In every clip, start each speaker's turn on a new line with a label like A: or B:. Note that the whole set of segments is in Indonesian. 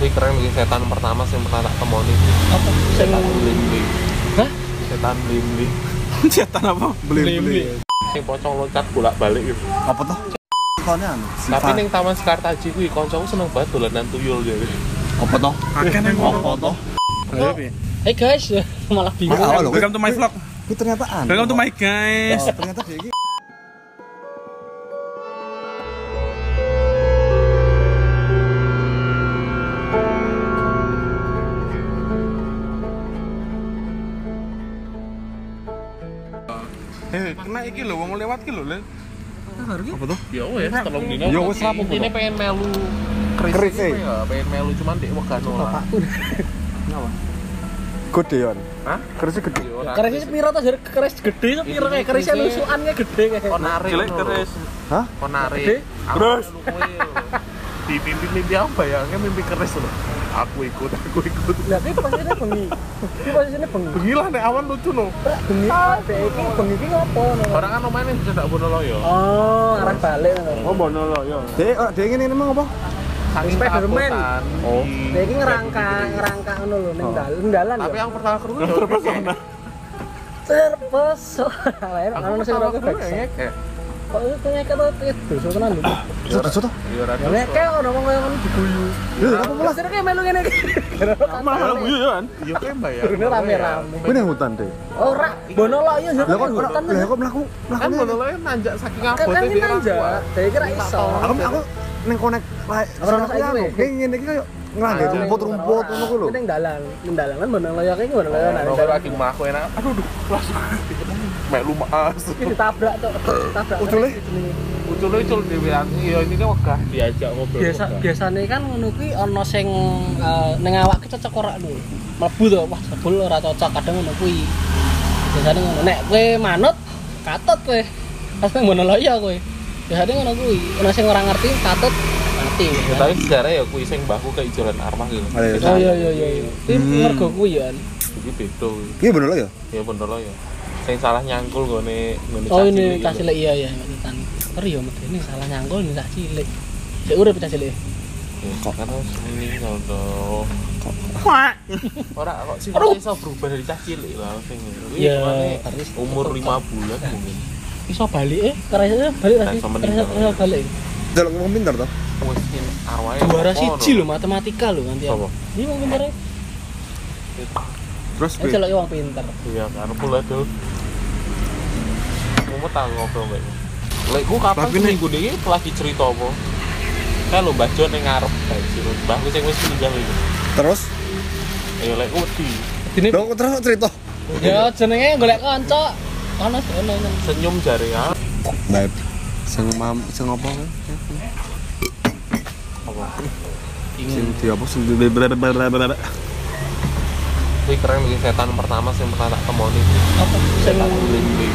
A: Wih keren bikin setan pertama sih yang pernah tak temoni
B: apa sing
A: Setan bling-bling
B: Hah?
A: Setan bling-bling
C: Setan apa? Beli-beli.
A: Yang pocong loncat bolak balik gitu
C: Apa tuh? Kone anu.
A: Tapi neng Taman Sekartaji kuwi koncoku seneng banget dolanan tuyul ya. jadi
C: apa toh? Akeh nang apa toh?
B: Oh, hey guys malah bingung
C: Maaf. Halo.
D: Welcome to my vlog.
C: Ku ternyata anu.
D: Welcome to my guys.
C: Oh, ternyata dia iki.
D: Eh, kena iki lho wong lewat ki lho, Lil.
C: Apa toh?
A: Ya wes telung dino
C: Ya wes, rampung,
A: Ini pengen melu Keris
C: Keris,
A: iki
C: eh.
A: kuwi ya, pengen melu cuman dek Ya, wegan ora
C: Gede yon.
A: Hah?
C: Kerisnya gede.
A: Ya, ora.
B: kerisnya sepira tuh jadi keris gede sepira kayak kerisnya
A: Kerisnya-
B: lusuannya gede kayak
A: Konari
D: Cilik
A: ngono lho.
D: terus.
C: Hah?
A: Konari
B: Gede?
A: Terus ya. Di mimpi-mimpi aku bayangnya mimpi keris loh Aku ikut, aku ikut
B: Lah, ini posisinya bengi. Ini posisinya bengi.
A: Bengilah nek awan lucu no
B: Lah, Bengi. Dek iki bengi iki ngopo no?
A: Orang kan omain yang bisa tak ya
B: Oh, arah Oh, balik no.
C: Dia oh, dia ngene emang apa?
A: Saking
B: Spiderman.
A: takutan.
C: Oh.
B: Dek iki ngerangka ngerangka ngono lho ning dal- ning dalan.
A: Tapi
B: ya.
A: yang pertama kerungu terpesona.
B: terpesona. Lah,
A: Aku
B: ono sing
A: pertama
B: rokok
A: kerungu
B: bagus.
A: ya ngeke.
B: Kok itu ngeke to itu tenan lho.
C: Sudah sudah.
A: Ya ora
B: Ya ngeke ono wong koyo ngono diguyu.
C: Lho, apa
B: Lah,
C: mulas?
B: sira kayak melu ngene iki.
D: Malah guyu yo kan.
A: Yo kayak bayar.
B: Turunnya rame-rame.
C: Kuwi nang hutan deh.
B: Ora, bonolok yo.
C: Lah kok lah kok mlaku mlaku.
A: Kan menurut lo nanjak saking
B: kan
A: abote
B: ini aja. Dek iki ra iso.
C: Aku aku ning konek lae.
B: Ora ono
C: Aku
B: saiki,
C: anu,
B: weh.
C: kayak ngene iki koyo ngelanggar rumput-rumput ngono kuwi lho.
B: Ning dalan, ning dalan kan bonolok yo iki bonolok yo.
A: Rokok lagi mlaku enak. Aduh duh, kelas. Mek lumaas.
B: Ini ditabrak tuh, ditabrak.
C: Ucule?
A: Ucul ucul dhewean. Iya ini kan wegah diajak ngobrol.
B: Biasa biasane kan ngono kuwi ana sing eh, ning awak cocok ora lho. Mlebu to, wah jebul ora cocok kadang ngono kuwi. Biasane ngono nek kowe manut, katut kowe. Pas nang ngono lho ya kowe. Biasane ngono kuwi, ana sing ora ngerti katut mati.
A: Ya, tapi sejarah ya kuwi sing mbahku ke ijolan armah gitu.
C: Oh, iya,
B: Oh iya iya iya. Kuwi
C: Hmm.
B: mergo kuwi ya.
A: Iki beda. kuwi.
C: Iki bener lho ya?
A: Ya bener lo ya. Sing salah nyangkul gone ngene
B: Oh ini cah cilik iya iya maksudnya. Ngeri ya medeni salah nyangkul ini cah cilik. Cek urip cah cilik.
A: Kok kan harus ini ngono. Ora kok sih
B: Aduh.
A: iso berubah dari cah cilik lah sing.
B: Iya,
A: Iya,
B: harus.
A: umur 5 bulan mungkin.
B: Iso balik eh, kerasnya balik lagi.
A: Iso
B: Kerasnya
A: meninggal.
B: kerasnya balik.
C: Delok wong pinter toh.
A: Mungkin arwahnya
B: Juara
A: apa,
B: siji
A: no?
B: lho ya. matematika lho nanti.
A: Sopo?
B: Ini wong pinter. eh.
C: Terus
B: Ini celoknya wong pinter.
A: Iya, karena pula tuh. Mumet aku ngobrol kayak gitu. Lek ku kapan
C: Tapi, Nek.
A: seminggu ini lagi cerita apa? Kan lho Mbah Jon yang ngarep banjir. Mbah ku sing wis meninggal itu.
C: terus
A: Ya lek wedi.
B: Dene
C: Lho kok terus cerita.
B: ya jenenge golek kanca. Ono ono. ono.
A: Senyum jare ya.
C: Baik. Sing mam sing apa kan?
A: Apa?
C: Sing di apa sing di- blablabla.
A: Kuwi keren bikin setan pertama sing pernah tak temoni.
B: Apa sing
A: Setan bling-bling.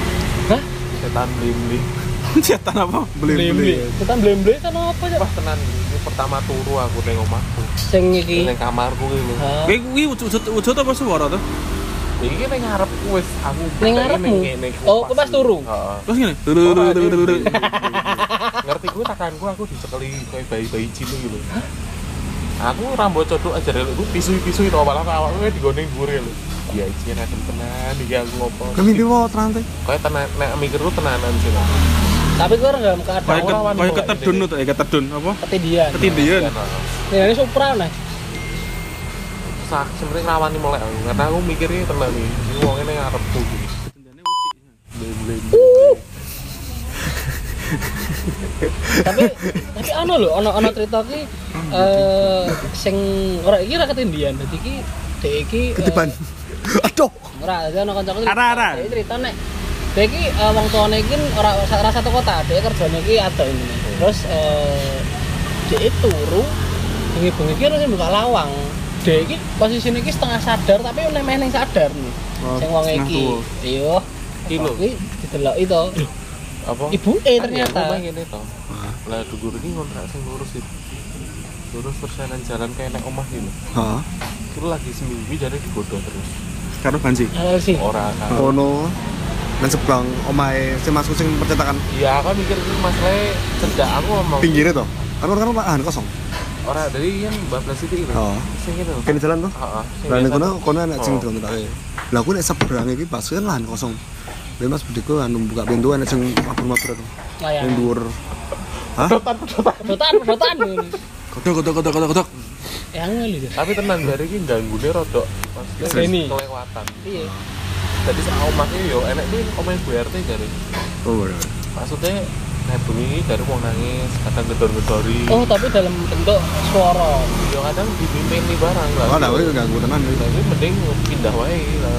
B: Hah?
A: Setan bling-bling.
C: Setan apa? Beli-beli.
B: kita blemble kan apa ya?
A: Wah tenan, ini pertama turu aku ning omahku.
B: Sing iki.
A: Ning kamarku iki lho.
B: Ha.
D: Kowe kuwi wujud-wujud apa suara tuh?
A: Iki ning ngarepku wis aku.
B: Ning ngarepmu? Oh, kok pas turu?
A: Heeh.
D: Terus ngene.
A: Ora, dia- ngerti gue takanku aku dicekeli kayak bayi-bayi cilik gitu aku rambut codok aja dulu gue pisui-pisui tau malah awak gue digondeng gurih lho ya isinya adem tenan dia aku ngopo
C: Kami di wae rantai.
A: kayak tenan nek mikir lu tenanan sih lah
B: Tapi gue ora dalam keadaan
D: Kayak
A: Kaya-
B: ora
A: Lawan
D: kayak
A: kok,
D: ketedun
A: ini.
D: tuh, kayak ketedun apa?
B: ketindian.
D: Ketindian.
A: Iya,
B: Ini ini supra nah.
A: sak sebenarnya ngrawani mulai aku karena aku mikirnya tenan nih ini wong ini ngarep tuh gitu.
B: tapi tapi ono lho ono ono cerita ki eh sing ora iki ora ketindian dadi ki dek iki eh,
C: Ketiban. Aduh.
B: ora dadi ono kancaku cerita-
D: Ara, ara.
B: dek cerita nek dek iki eh, wong tuane iki ora ora satu kota dek kerjane iki ada ini terus eh dek turu bengi-bengi ki terus buka lawang dek iki posisine iki setengah sadar tapi oleh meh ning sadar nih
C: Oh,
B: sing wong
C: setengah
B: iki
C: tuwa.
B: iya
A: Iki lho.
B: iki dideloki to
A: apa
B: ibu eh ternyata
A: Kan ya, rumah ngene to. Lah dhuwur iki ngontrak sing lurus itu. Lurus persenan jalan kayak nek omah gitu.
C: Hah?
A: Itu lagi seminggu jadi digodok terus.
D: Karo banji.
B: Hal sih
C: Oh.
A: Ora kan.
C: Kono nang sebelang omahe sing masuk sing percetakan
A: Iya, aku mikir ini masalahnya cedak aku ngomong
C: pinggirnya toh. Kan kan lahan kosong.
A: Ora dari yang Mbak Blas itu gitu.
C: Oh.
A: Sing itu.
C: kene jalan tuh
A: Heeh. sing
C: Lah ning
A: biasa.
C: kono kono ana sing
A: Oh.
C: drontoke. Lah aku nek seberang iki pas kan lahan kosong. Lah Mas Budiku anu buka pintu ana sing mabur-mabur tuh.
B: layan
C: Ning dhuwur. Hah?
A: Dotan, dotan.
B: kedotan kedotan
D: Kodok, kodok, kodok, kodok, kodok.
B: yang ngeli
A: Tapi tenang dari ini ganggunya rodok. Maksudnya
B: Ini.
A: kelewatan.
B: iya
A: Jadi sak omahnya yo enek iki omahe Bu RT dari.
C: Oh. bener.
A: Maksudnya nek bengi dari wong nangis, kadang gedor-gedori.
B: oh tapi dalam bentuk suara
A: Yo Ya, kadang dipimpin nih barang lah.
C: Oh, nah kowe ganggu tenan. weh.
A: Tapi mending pindah wae lah.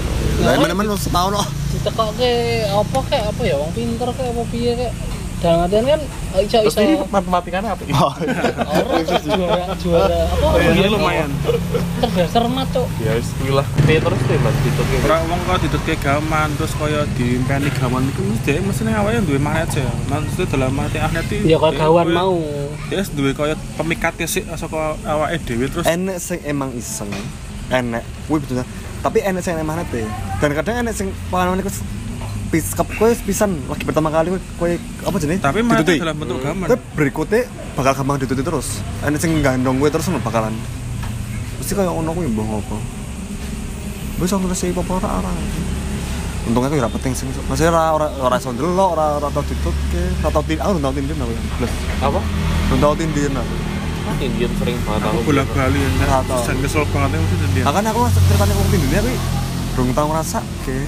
C: Lah teman-teman wis setahun kok.
B: ditekok ke apa kayak apa ya wong pinter kayak apa piye kayak dalam artian kan iso
A: Terus
B: iso
A: ini matematikanya apa?
C: Oh.
B: orang terus juara juara apa
D: Ini Oh,
B: begini
D: iya, lumayan.
B: cerdas cermat cok
A: Ya wis kuwi lah. T terus deh Mas gitu.
D: Ora wong kok didutke gaman terus kaya diimpeni gaman iku mesti dhek mesti ning awake duwe magnet ya. Maksudnya dalam arti ahnet iki.
B: ya kalau kawan mau
D: Ya wis duwe kaya pemikat sik saka awake dhewe terus
C: Enek sing emang iseng. Enek. Kuwi betul. Tapi enek sing emang nate. Dan kadang enek sing pengalaman iku pis kep kowe pisan lagi pertama kali kowe- kowe apa jenenge?
D: tapi magnet
C: Ditututi.
D: dalam bentuk gaman.
C: Tapi berikutnya bakal gampang dituti terus. Enek sing gandong kowe terus ngono bakalan. Mesti kaya ono kuwi mbah apa. Wis aku ngresi apa ora ora. Untungnya aku ora penting sing masih ora ora ora iso ndelok, ora ora tau ditutuke, ora tau tin, aku ora tau tindin aku. Plus,
A: Apa?
C: ora tau tindin aku.
A: Indian sering banget
D: Aku bola-bali
C: Nggak
D: ya.
C: tahu.
D: Jan kesel banget aku tuh
A: Iya.
C: Lah kan aku ceritanya wong tindine aku belum tau ngerasa ke.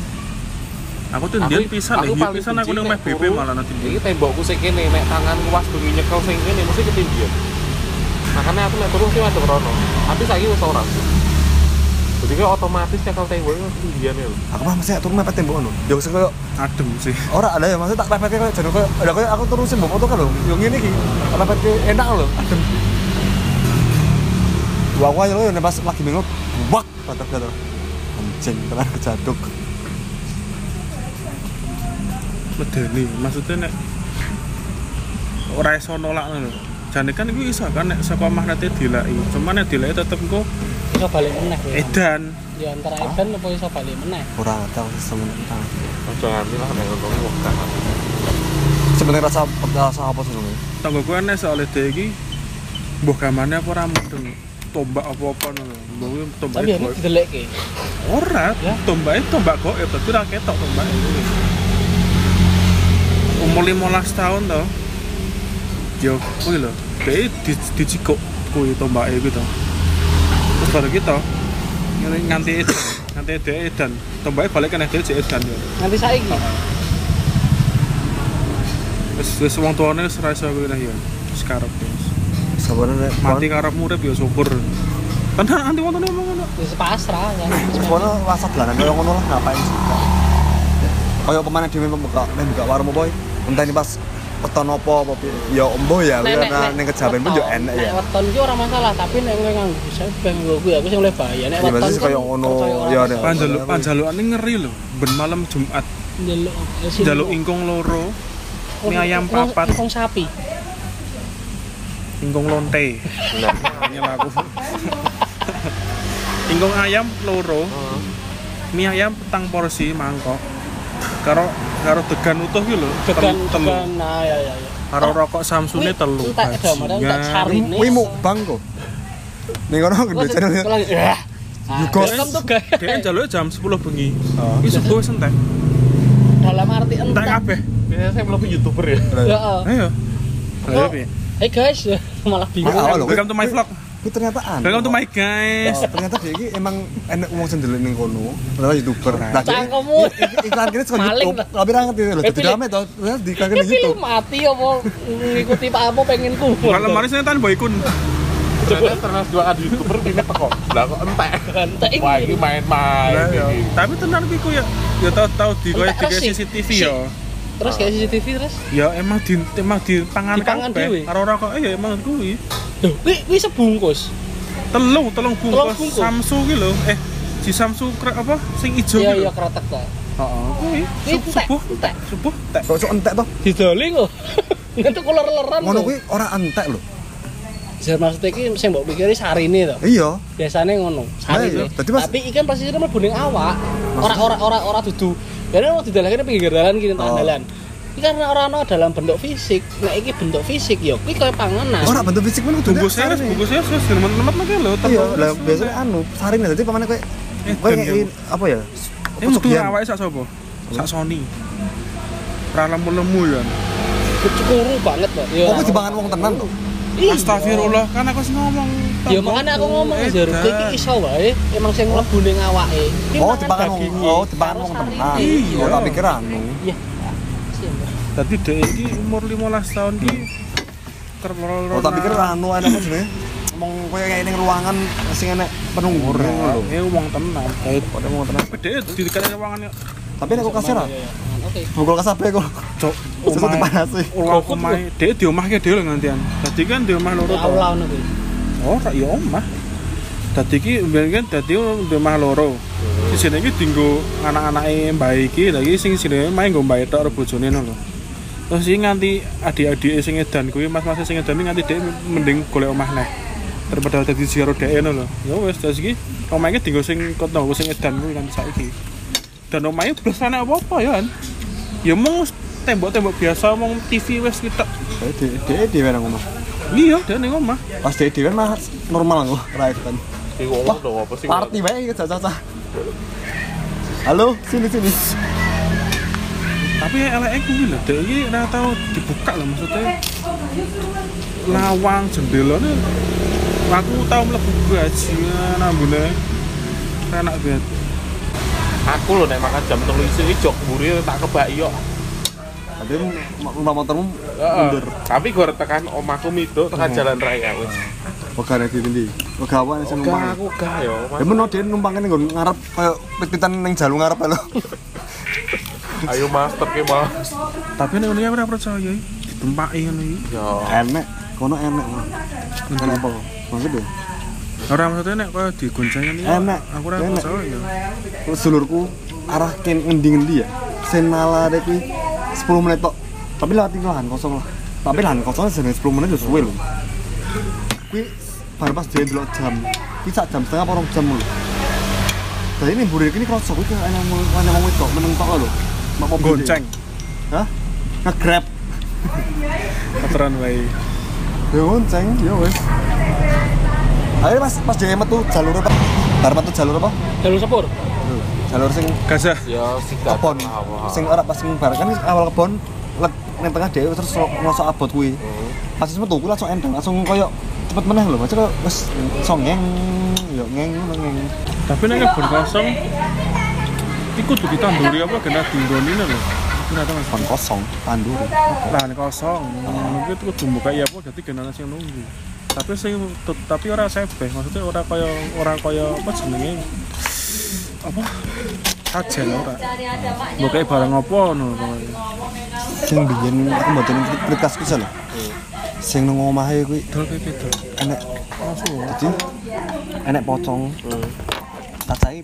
D: Aku tuh
A: Aku-
D: ndian pisan
A: aku
D: lho, ndian
A: paling
D: pisan aku
A: benci
D: ning
A: nek
D: meh BP
A: turu,
D: malah nanti
A: Iki tembokku sing kene nek tanganku pas bengi nyekel sing kene mesti ketindian. Makanya aku nek turu sih madhep rono. Tapi saiki wis ora. Jadi kayak otomatis nyekel tembok itu ketindian ya. lho.
C: Aku mah mesti turu mepet tembok ngono. Ya sing koyo
D: adem sih.
C: ora ada ya maksudnya tak mepet koyo jare koyo ada koyo aku turu sing mbok foto kan lho. Yo ngene iki. Mepet enak lho, adem. Wah, wah, lo yang pas lagi minggu, wak, bater bater, anjing, tenar jaduk.
D: medeni maksudnya nek ora iso nolak ngono lho. jane kan iku iso kan nek saka magnete dilaki cuman nek dilaki tetep engko
B: iso balik meneh kowe.
D: edan
B: ya antara edan apa iso balik meneh
C: Kurang tahu sih sebenarnya.
A: Ojo nganti lah nek ngono wong kan.
C: Sebenarnya rasa rasa apa sih sebenarnya?
D: tanggo kuwi nek soal dhek iki mbuh gamane apa ora mudeng tombak apa-apa ngono lho. mbuh kuwi tombak
B: tapi ya, aku didelekke
D: ora
B: Ya.
D: tombake tombak goib tapi ora ketok tombak umur 15 tahun to yo kuwi lho dhek di, dicikok kuwi tombake kuwi to terus baru kita nganti nganti edan nganti dhek edan tombake balik kan dhek jek edan yo
B: nanti saiki
D: wis wis wong tuane wis ra iso kuwi lah yo wis karep ya. wis.
C: Sebenarnya
D: mati karep urip yo syukur Kan tenan anti wong tuane ngomong ngono
B: wis pasrah kan
C: Sebenarnya rasa belanan kalau ngono lah ngapain sih? Kayak kemana dia membuka membuka warung boy? Entah ini pas peton apa apa piye. ya ombo ya
B: Nek- nek-
C: karena
B: nek
C: ning kejaben pun yo
B: weton-
C: enak ya.
B: nek weton ki ora masalah tapi nek kowe nganggo sebeng gue aku sing oleh bahaya nek
C: Iya,
B: weton
C: maksudnya
B: kan
C: kayak ngono,
B: percaya orang
C: ya,
B: iso.
C: nek-
D: panjaluk panjalukane ngeri lho ben malam Jumat
B: njaluk eh, sini.
D: jaluk ingkung loro
B: Oh,
D: mie ayam
B: ingkung-
D: papat.
B: ingkung sapi
D: ingkung lonte
A: Nah,
D: Nyel aku. Ingkung ayam loro,
A: heeh.
D: mie ayam petang porsi mangkok. Karo karo degan utuh gitu lho,
B: degan
D: telu- telu.
B: degan nah ya ya ya
D: Karo rokok Samsune
B: Wih,
D: telu.
B: entek dah, padahal entek
D: Bajingan.
B: sari. Ini-
C: Kuwi mukbang kok. Ning kono
B: Gua
C: gede channel.
B: aku lagi, "Yah." Ah,
C: Ghost.
B: welcome to guys.
D: Dia kan jalur jam 10 bengi.
C: Oh.
D: Wis subuh wis entek.
B: dalam arti
D: Entek
B: Iya. entek
D: kabeh.
A: Biasanya saya mlebu YouTuber ya.
B: Ya, oh.
D: Ayo.
B: Kok- hey guys malah Oh. bingung
C: Maaf. Halo,
D: Welcome to my
C: wih.
D: vlog.
C: Kuwi ternyata an.
D: Welcome to my guys.
C: Oh, ternyata dia iki emang enak wong sing ndelik ning kono. Ternyata YouTuber. Lah
B: Nah. Cangkemmu.
C: iki- iklan kene saka
B: Maling
C: YouTube.
B: lah.
C: Tapi ra ngerti lho,
B: Eh,
C: dadi
B: pilih.
C: rame to. Terus Kan di iklan kene
B: Ini film
C: YouTube.
B: mati apa ngikuti Pak Apo pengen kubur.
D: Malam maris nyetan boykun.
A: Ternyata terkenal dua ad YouTuber ini teko. Lah kok entek.
B: Entek
A: Wah,
D: iya.
A: ini
B: ini.
A: main-main ini.
D: Tapi tenan kuwi ku ya ya tau-tau di koyo
B: Entek
D: di
B: resik.
D: CCTV
B: Sik.
D: ya.
B: Terus kayak CCTV terus.
D: Ya emang di emang di pangan
B: Dipangan dhewe.
D: kabeh. Karo rokoke ya emang kuwi.
B: Duh, wi wi sebungkus.
D: telung telung
B: Telung
D: bungkus
B: bungkus.
D: Samsu ki lho eh si Samsu kre, apa sing ijo
B: Iya
D: ki
B: iya
D: lho
B: kretek ta.
D: heeh kuwi
B: Kuwi
D: Sub-
B: entek,
D: subuh
B: entek.
D: subuh tek
C: Kok sok entek to?
B: Didoli kok. Ngentuk ular-ularan.
C: Ngono
B: kok.
C: kuwi ora entek lho.
B: Jar maksudnya ki sing mbok pikiri sarine to.
C: Iya.
B: Biasane ngono,
C: Lah, iya.
B: sarine.
C: Dadi mas-
B: Tapi ikan pasti mlebu ning awak. Ora ora ora ora dudu. Jadi mau didalahkan pinggir dalan gini tengah
C: Oh.
B: dalan. Iki karena orang ana dalam bentuk fisik. Nek iki bentuk fisik ya kuwi kaya panganan.
C: Ora Oh, bentuk fisik men kudu
D: bungkus seres
C: saring.
D: bungkus seres teman-teman lagi Eh, lo
C: Iya, lah biasanya anu, saring dadi pamane kowe kowe
D: dan
C: ngeki-
D: ya.
C: apa ya?
D: ini
C: Pesugihan.
D: mesti awake sak sapa sak Sony ra lemu-lemu ya
B: Iya. Kecukuru banget kok. Ya.
C: Oh, kowe dipangan wong tenan to.
B: Iya.
D: astagfirullah kan aku sih ngomong Eh,
B: Ya makanya aku ngomong Jar, kowe iki iso wae emang sing mlebu ning awake. Iki
C: Oh,
B: mangan
C: dipangan wong.
B: dagingnya
C: Oh, dipangan
B: karo
C: wong
B: sarine.
C: tenan.
D: Iya.
C: Oh, tak pikir anu.
B: Iya. Sih, Mbak.
D: tadi dek iki umur 15 tahun ki kerloro
C: Hmm. Oh, tak pikir anu ana apa jenenge? Ngomong kowe kayak ning ruangan sing enek penunggu lho.
D: ya wong tenan
C: Eh, kok mau tenan.
D: dek di dekat ruangan
C: Tapi nek kulkas ra.
B: Oke.
C: Bukul kasabe
D: Iya,
C: kok.
D: cok
C: Susu dipanasi.
D: ulah omahe dek di omahke dhewe lho ngantian tadi kan di omah loro to
B: Allah ono kuwi.
D: Ora ya omah. Dadi iki mbiyen kan dadi omah loro. Sisi iki dinggo anak-anake mbah iki, lha iki sing sine main nggo mbah tok karo bojone ngono lho. Terus iki nganti adik-adike sing edan kuwi, mas-mas sing edan iki nganti dhek mending golek omah neh. Daripada dadi jero dhek ngono lho. Ya wis terus iki omah iki dinggo sing ketanggo sing edan kuwi kan saiki. Dan omahnya blas ana apa-apa ya kan. Ya mung tembok-tembok biasa mung TV wis ketok.
C: Eh, dhewe dhewe dhewe nang omah.
D: Iya, dhek ning omah.
C: Pas dhewe dhewe mah normal kok, ra kan.
A: Iku ngomong dong apa sih?
C: Party bae iki cacah-cacah. Halo, sini sini.
D: tapi elek aku gitu deh ini nggak tahu dibuka lah maksudnya lawang jendela nih aku tahu mlebu gaji nambune enak banget
A: Aku loh nek makan jam telu isih iki jog mburi tak kebak iya. yo.
C: Tapi rumah motormu mundur.
A: Heeh. Hmm. Tapi gue tekan omahku midok tekan jalan raya wis.
C: Wegane di ndi? Wegawan sing
A: Oke,
C: numpang.
A: aku gak yo. Mas.
C: Ya men dia numpangin nggon ngarep koyo pititan ning jalu ngarep lho.
A: Ayo master ke malah.
D: tapi nih ini aku nggak percaya ditempai ini
A: Ya.
C: Enek, kono enek. Mas. Enek apa? Mangke deh.
D: orang maksudnya nek kau digoncang ini
C: Enak.
D: ya, aku nggak
C: Enak.
D: percaya ya.
C: Terus dulurku arah ke ngendi-ngendi ya. Senala dek kuwi 10 menit tok. Tapi lewat iki lahan kosong lah. Tapi lahan kosong jenenge 10 menit ya suwe lho. Kuwi baru pas dia delok jam. Kuwi sak jam setengah apa rong jam lho. Jadi ini burir ini kerosok kuwi kayak enak mau enak mau itu meneng tok lho. Mak mobil.
D: gonceng
C: Hah? Nge-grab.
D: veteran wae
C: Ya gonceng, ya wes. Akhirnya pas pas dia metu jalur apa? Bar metu jalur apa?
B: Jalur sepur.
C: Jalur sing
D: gajah
A: Ya sing
C: kebon.
A: datang awal.
C: Sing ora pas sing bar kan awal kebon let ning tengah dhewe terus sok- ngosok abot kuwi.
A: Hmm.
C: Pas wis metu kuwi langsung endang, langsung koyo cepet meneh lho. Macam koyo wis songeng yo ngeng ngono, ngeng.
D: tapi nek kebun kosong ikut tuh ditamburi apa kena tinggon ini lho kena tahu
C: Kon kosong, tandur.
D: lahan kosong mungkin Ah, itu kudu buka ya apa jadi genangan sing nunggu tapi sing tut- tapi ora sebeh maksudnya ora kaya ora kaya apa jenenge apa kajen ora buka barang apa no
C: Sing biyen aku mboten prikas kuwi lho. Sing nang omahe kuwi
D: dol pipi dol
C: enek jadi enek pocong cacai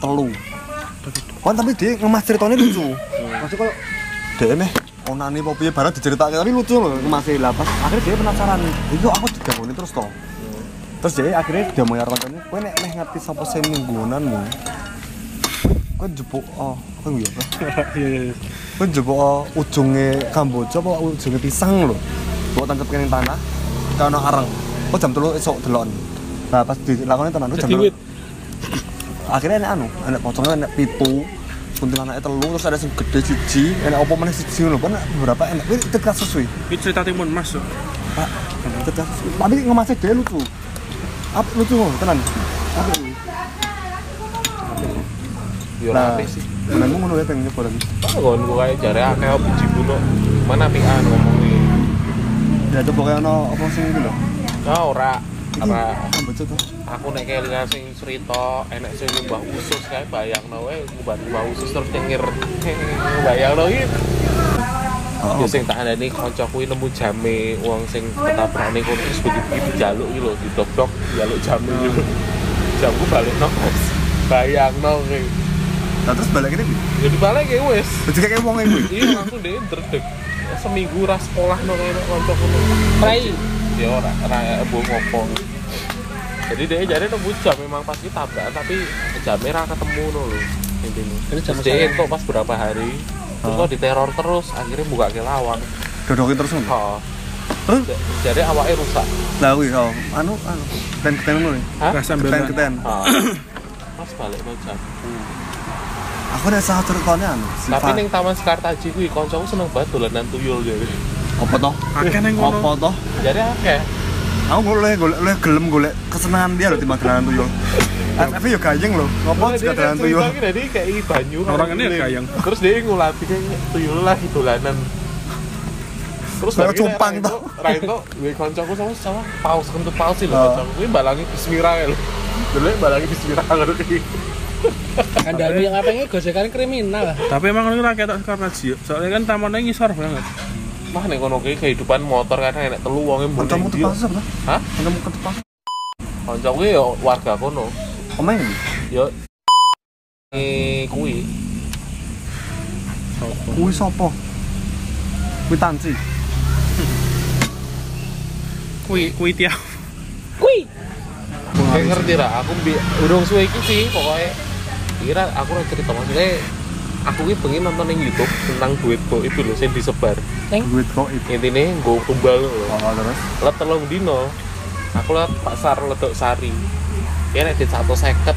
C: telu kan tapi dia ngemas ceritanya lucu maksudnya kalau dia meh onani apa piye barang diceritake tapi lucu loh ngemas lapas akhirnya dia penasaran itu aku digangguin terus toh terus dia akhirnya dia mau nyarang kowe gue nek meh ngerti sapa sing mingguananmu gue jebuk oh gue nggak apa
D: iya iya iya.
C: gue jebuk oh, ujungnya kamboja apa oh, ujungnya pisang lho gue tangkep kene tanah karena arang gue jam telu esok delon nah pas dilakonnya tenan gue jam telu
B: Diwit.
C: akhirnya enak anu enak pocongnya enak pitu kuntilanaknya telu terus ada sing gede siji enak opo meneh siji lho kan beberapa enak itu tegas sesuai
D: ini cerita timun mas so.
C: pak tegas sesuai tapi ngemasnya dia lucu apa lucu lho tenan apa lucu
A: Yo
C: nah
A: aneh Ya, sih.
C: menemu ngono ya pengen nyoba lagi
A: Bangun gue kayak jare akeh biji bunuh. Mana anu pian ngomongnya.
C: dia coba kayak ono apa sing gitu lho
A: Nah ora
C: Iki
A: ora
C: kamboja tuh
A: aku nek kelingan sing cerita enek sing ngubah usus kae bayangno wae ngubah ngubah usus terus cengir. bayangno iki.
C: Oh.
A: Yo sing tak andani kanca kuwi nemu jame wong sing ketabrane kono terus begitu dijaluk iki lho didok-dok jaluk jame iki lho. Jamku balikno. Bayangno kuwi.
C: Nah, terus balik ini,
A: Ya dibalik ya wis.
C: berjaga kayak wong ini.
A: Iya langsung dia dredeg. Seminggu ras sekolah nang kene kanca kono.
B: Rai.
A: Ya ora ora mbuh ngopo. Jadi dia jare nemu jam memang pas kita tabrakan tapi jamnya ra ketemu no lho. Intinya.
B: Jadi jam
A: Terus dia
B: sekarang.
A: entuk pas berapa hari terus
C: Oh.
A: kok diteror terus akhirnya buka ke lawang
C: dodokin terus ngono.
A: oh.
C: Terus
A: jadi awalnya rusak
C: lah kuwi oh, anu anu keten keten ngono. ya?
A: Hah?
D: Rasa
C: Keten
D: belan.
C: keten.
A: oh. mas balik aja
C: Aku ada salah ceritanya anu. Si
A: tapi
C: Fa-
A: neng taman Sekartaji kuwi koncoku seneng banget dolanan tuyul jadi
C: apa toh?
D: Akeh neng ngono.
C: Apa toh?
A: jadi akeh
C: Aku golek golek golek gelem golek kesenangan dia loh timbang dolanan tuyul. Tapi yo gayeng loh. Ngopo
A: Nah,
C: juga
A: dia kan
C: dolanan tuyul?
A: ceritanya tadi kayak i banyu
D: Orang
A: kan,
D: ini ya,
A: tuyul.
D: gayeng.
A: terus dia ngulati kayak tuyul lagi dolanan terus
C: Baru
A: barangnya
C: cumpang
A: Rain
C: toh.
A: Rain tuh gue koncoku sama sama paus kentut paus sih
C: Oh.
A: loh koncoku gue balangi bismillah ya loh dulu balangi bismillah ngerti
B: Kandani yang apa ini gojekan kriminal.
D: Tapi emang ini rakyat tak karena jio. Soalnya kan tamannya ngisor banget.
A: mah nih kono kayak kehidupan motor karena enak telu wonge
C: Kancamu
A: mbuning
C: tepas apa?
A: Hah?
C: Kancamu tepas.
A: koncoku ya warga kono
C: Omeng ini.
A: ya eh kuwi
D: Sopo.
C: Kuwi sapa? Kuwi tansi.
D: Kui kui tiap.
B: Kui.
A: Kayak ngerti lah, aku bi urung suwe iki sih pokoknya Kira aku ora cerita maksudnya Aku ki pengen nonton yang Youtube tentang duit kok itu loh, yang disebar
C: Duit kok itu.
A: Intinya gue kumbal loh
C: Oh, terus.
A: Lep telung dino Aku lewat pasar ledok sari Ya nek duit satu seket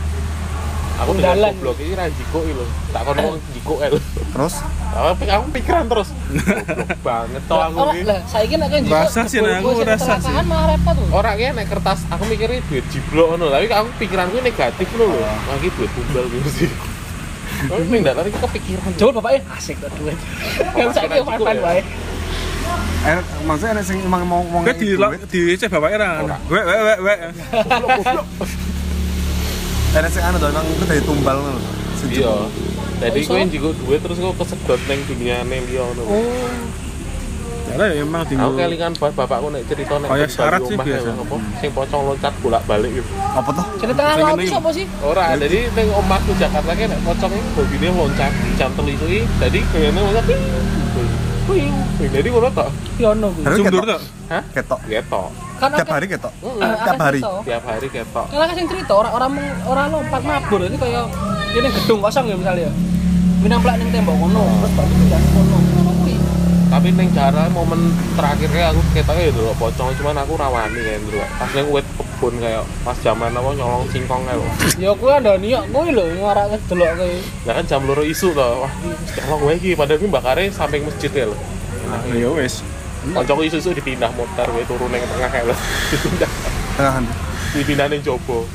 A: Aku dengan
B: Undalan.
A: goblok ini ra jikuk iki lho Tak kono wong jikuk el
C: Terus
A: Aku aku pikiran terus Goblok banget toh aku
B: Ora
A: ki
B: lah, saiki nek kan
D: Rasa sih, nah, aku rasa sih.
B: Malah repot lho.
A: Orang ya naik kertas, aku mikirnya duit jiblok no, tapi aku pikiran gue negatif no
D: Iya.
A: loh, lagi duit tumbal gitu sih. Tapi nih nggak lari kepikiran.
B: Jol bapaknya asik kok duit. Kan saiki
A: Orang
B: pan-pan
A: juga ya.
B: wae.
C: eh maksudnya ada sing emang mau ngomong
D: Gue di di cek bapaknya ra.
A: Ora.
D: Gue gue gue gue.
C: ada sing anu dong itu dari tumbal ngono. Sejuk.
A: Iya. Jadi
B: Oh, iso?
A: gue yang jigo duit terus gue kesedot neng dunia neng dia no.
B: Oh,
D: Cara ya emang di.
A: Aku kelingan banget bapakku naik cerita naik
D: Kayak Oh, iya, syarat sih biasa.
A: Apa? Sing pocong loncat bolak balik gitu.
C: Apa toh?
B: cerita
D: Sing
B: laut
D: ini.
B: sapa sih?
A: Orang
D: Iya.
A: jadi neng omahku Jakarta kan naik pocong itu bobine loncat cantel itu i. Jadi kayaknya loncat. ting, ting, ting. Jadi gue tak
B: Ki ono kuwi.
C: Terus
D: Sumber
C: ketok.
D: tuh.
A: Hah?
C: Ketok.
A: Ketok.
B: Kan
C: Tiap
B: akeh-
C: hari ketok.
A: Mm-mm.
B: akeh
C: tiap hari.
B: cerita.
A: Tiap hari ketok.
B: Kalau kasih cerita orang orang meng- orang lompat mabur ini kayak ini gedung kosong ya misalnya. Minang plak ning tembok kono, terus baru pindah ke kono. Ngono kuwi.
A: tapi neng jalan momen terakhirnya aku ketoknya ya dulu pocong cuman aku rawani kan dulu pas neng wet kebun kayak pas zaman apa nyolong singkong kayak lho.
B: Ya kuwi andani kok kuwi lho ngarake delok kuwi.
A: nah kan jam loro isu toh wah ini mesti nyolong gue iki padahal gue bakare samping masjid ya lho
D: Ya wes.
A: kocok isu isu dipindah motor gue turun neng tengah kayak lho dipindah
C: Tengahan.
A: dipindah neng jobo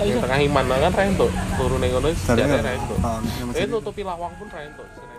B: Ayo.
A: neng tengah iman nah kan rento turun neng kono
C: Dari
A: sejarah rento
C: tahun.
A: eh tutupi lawang pun rento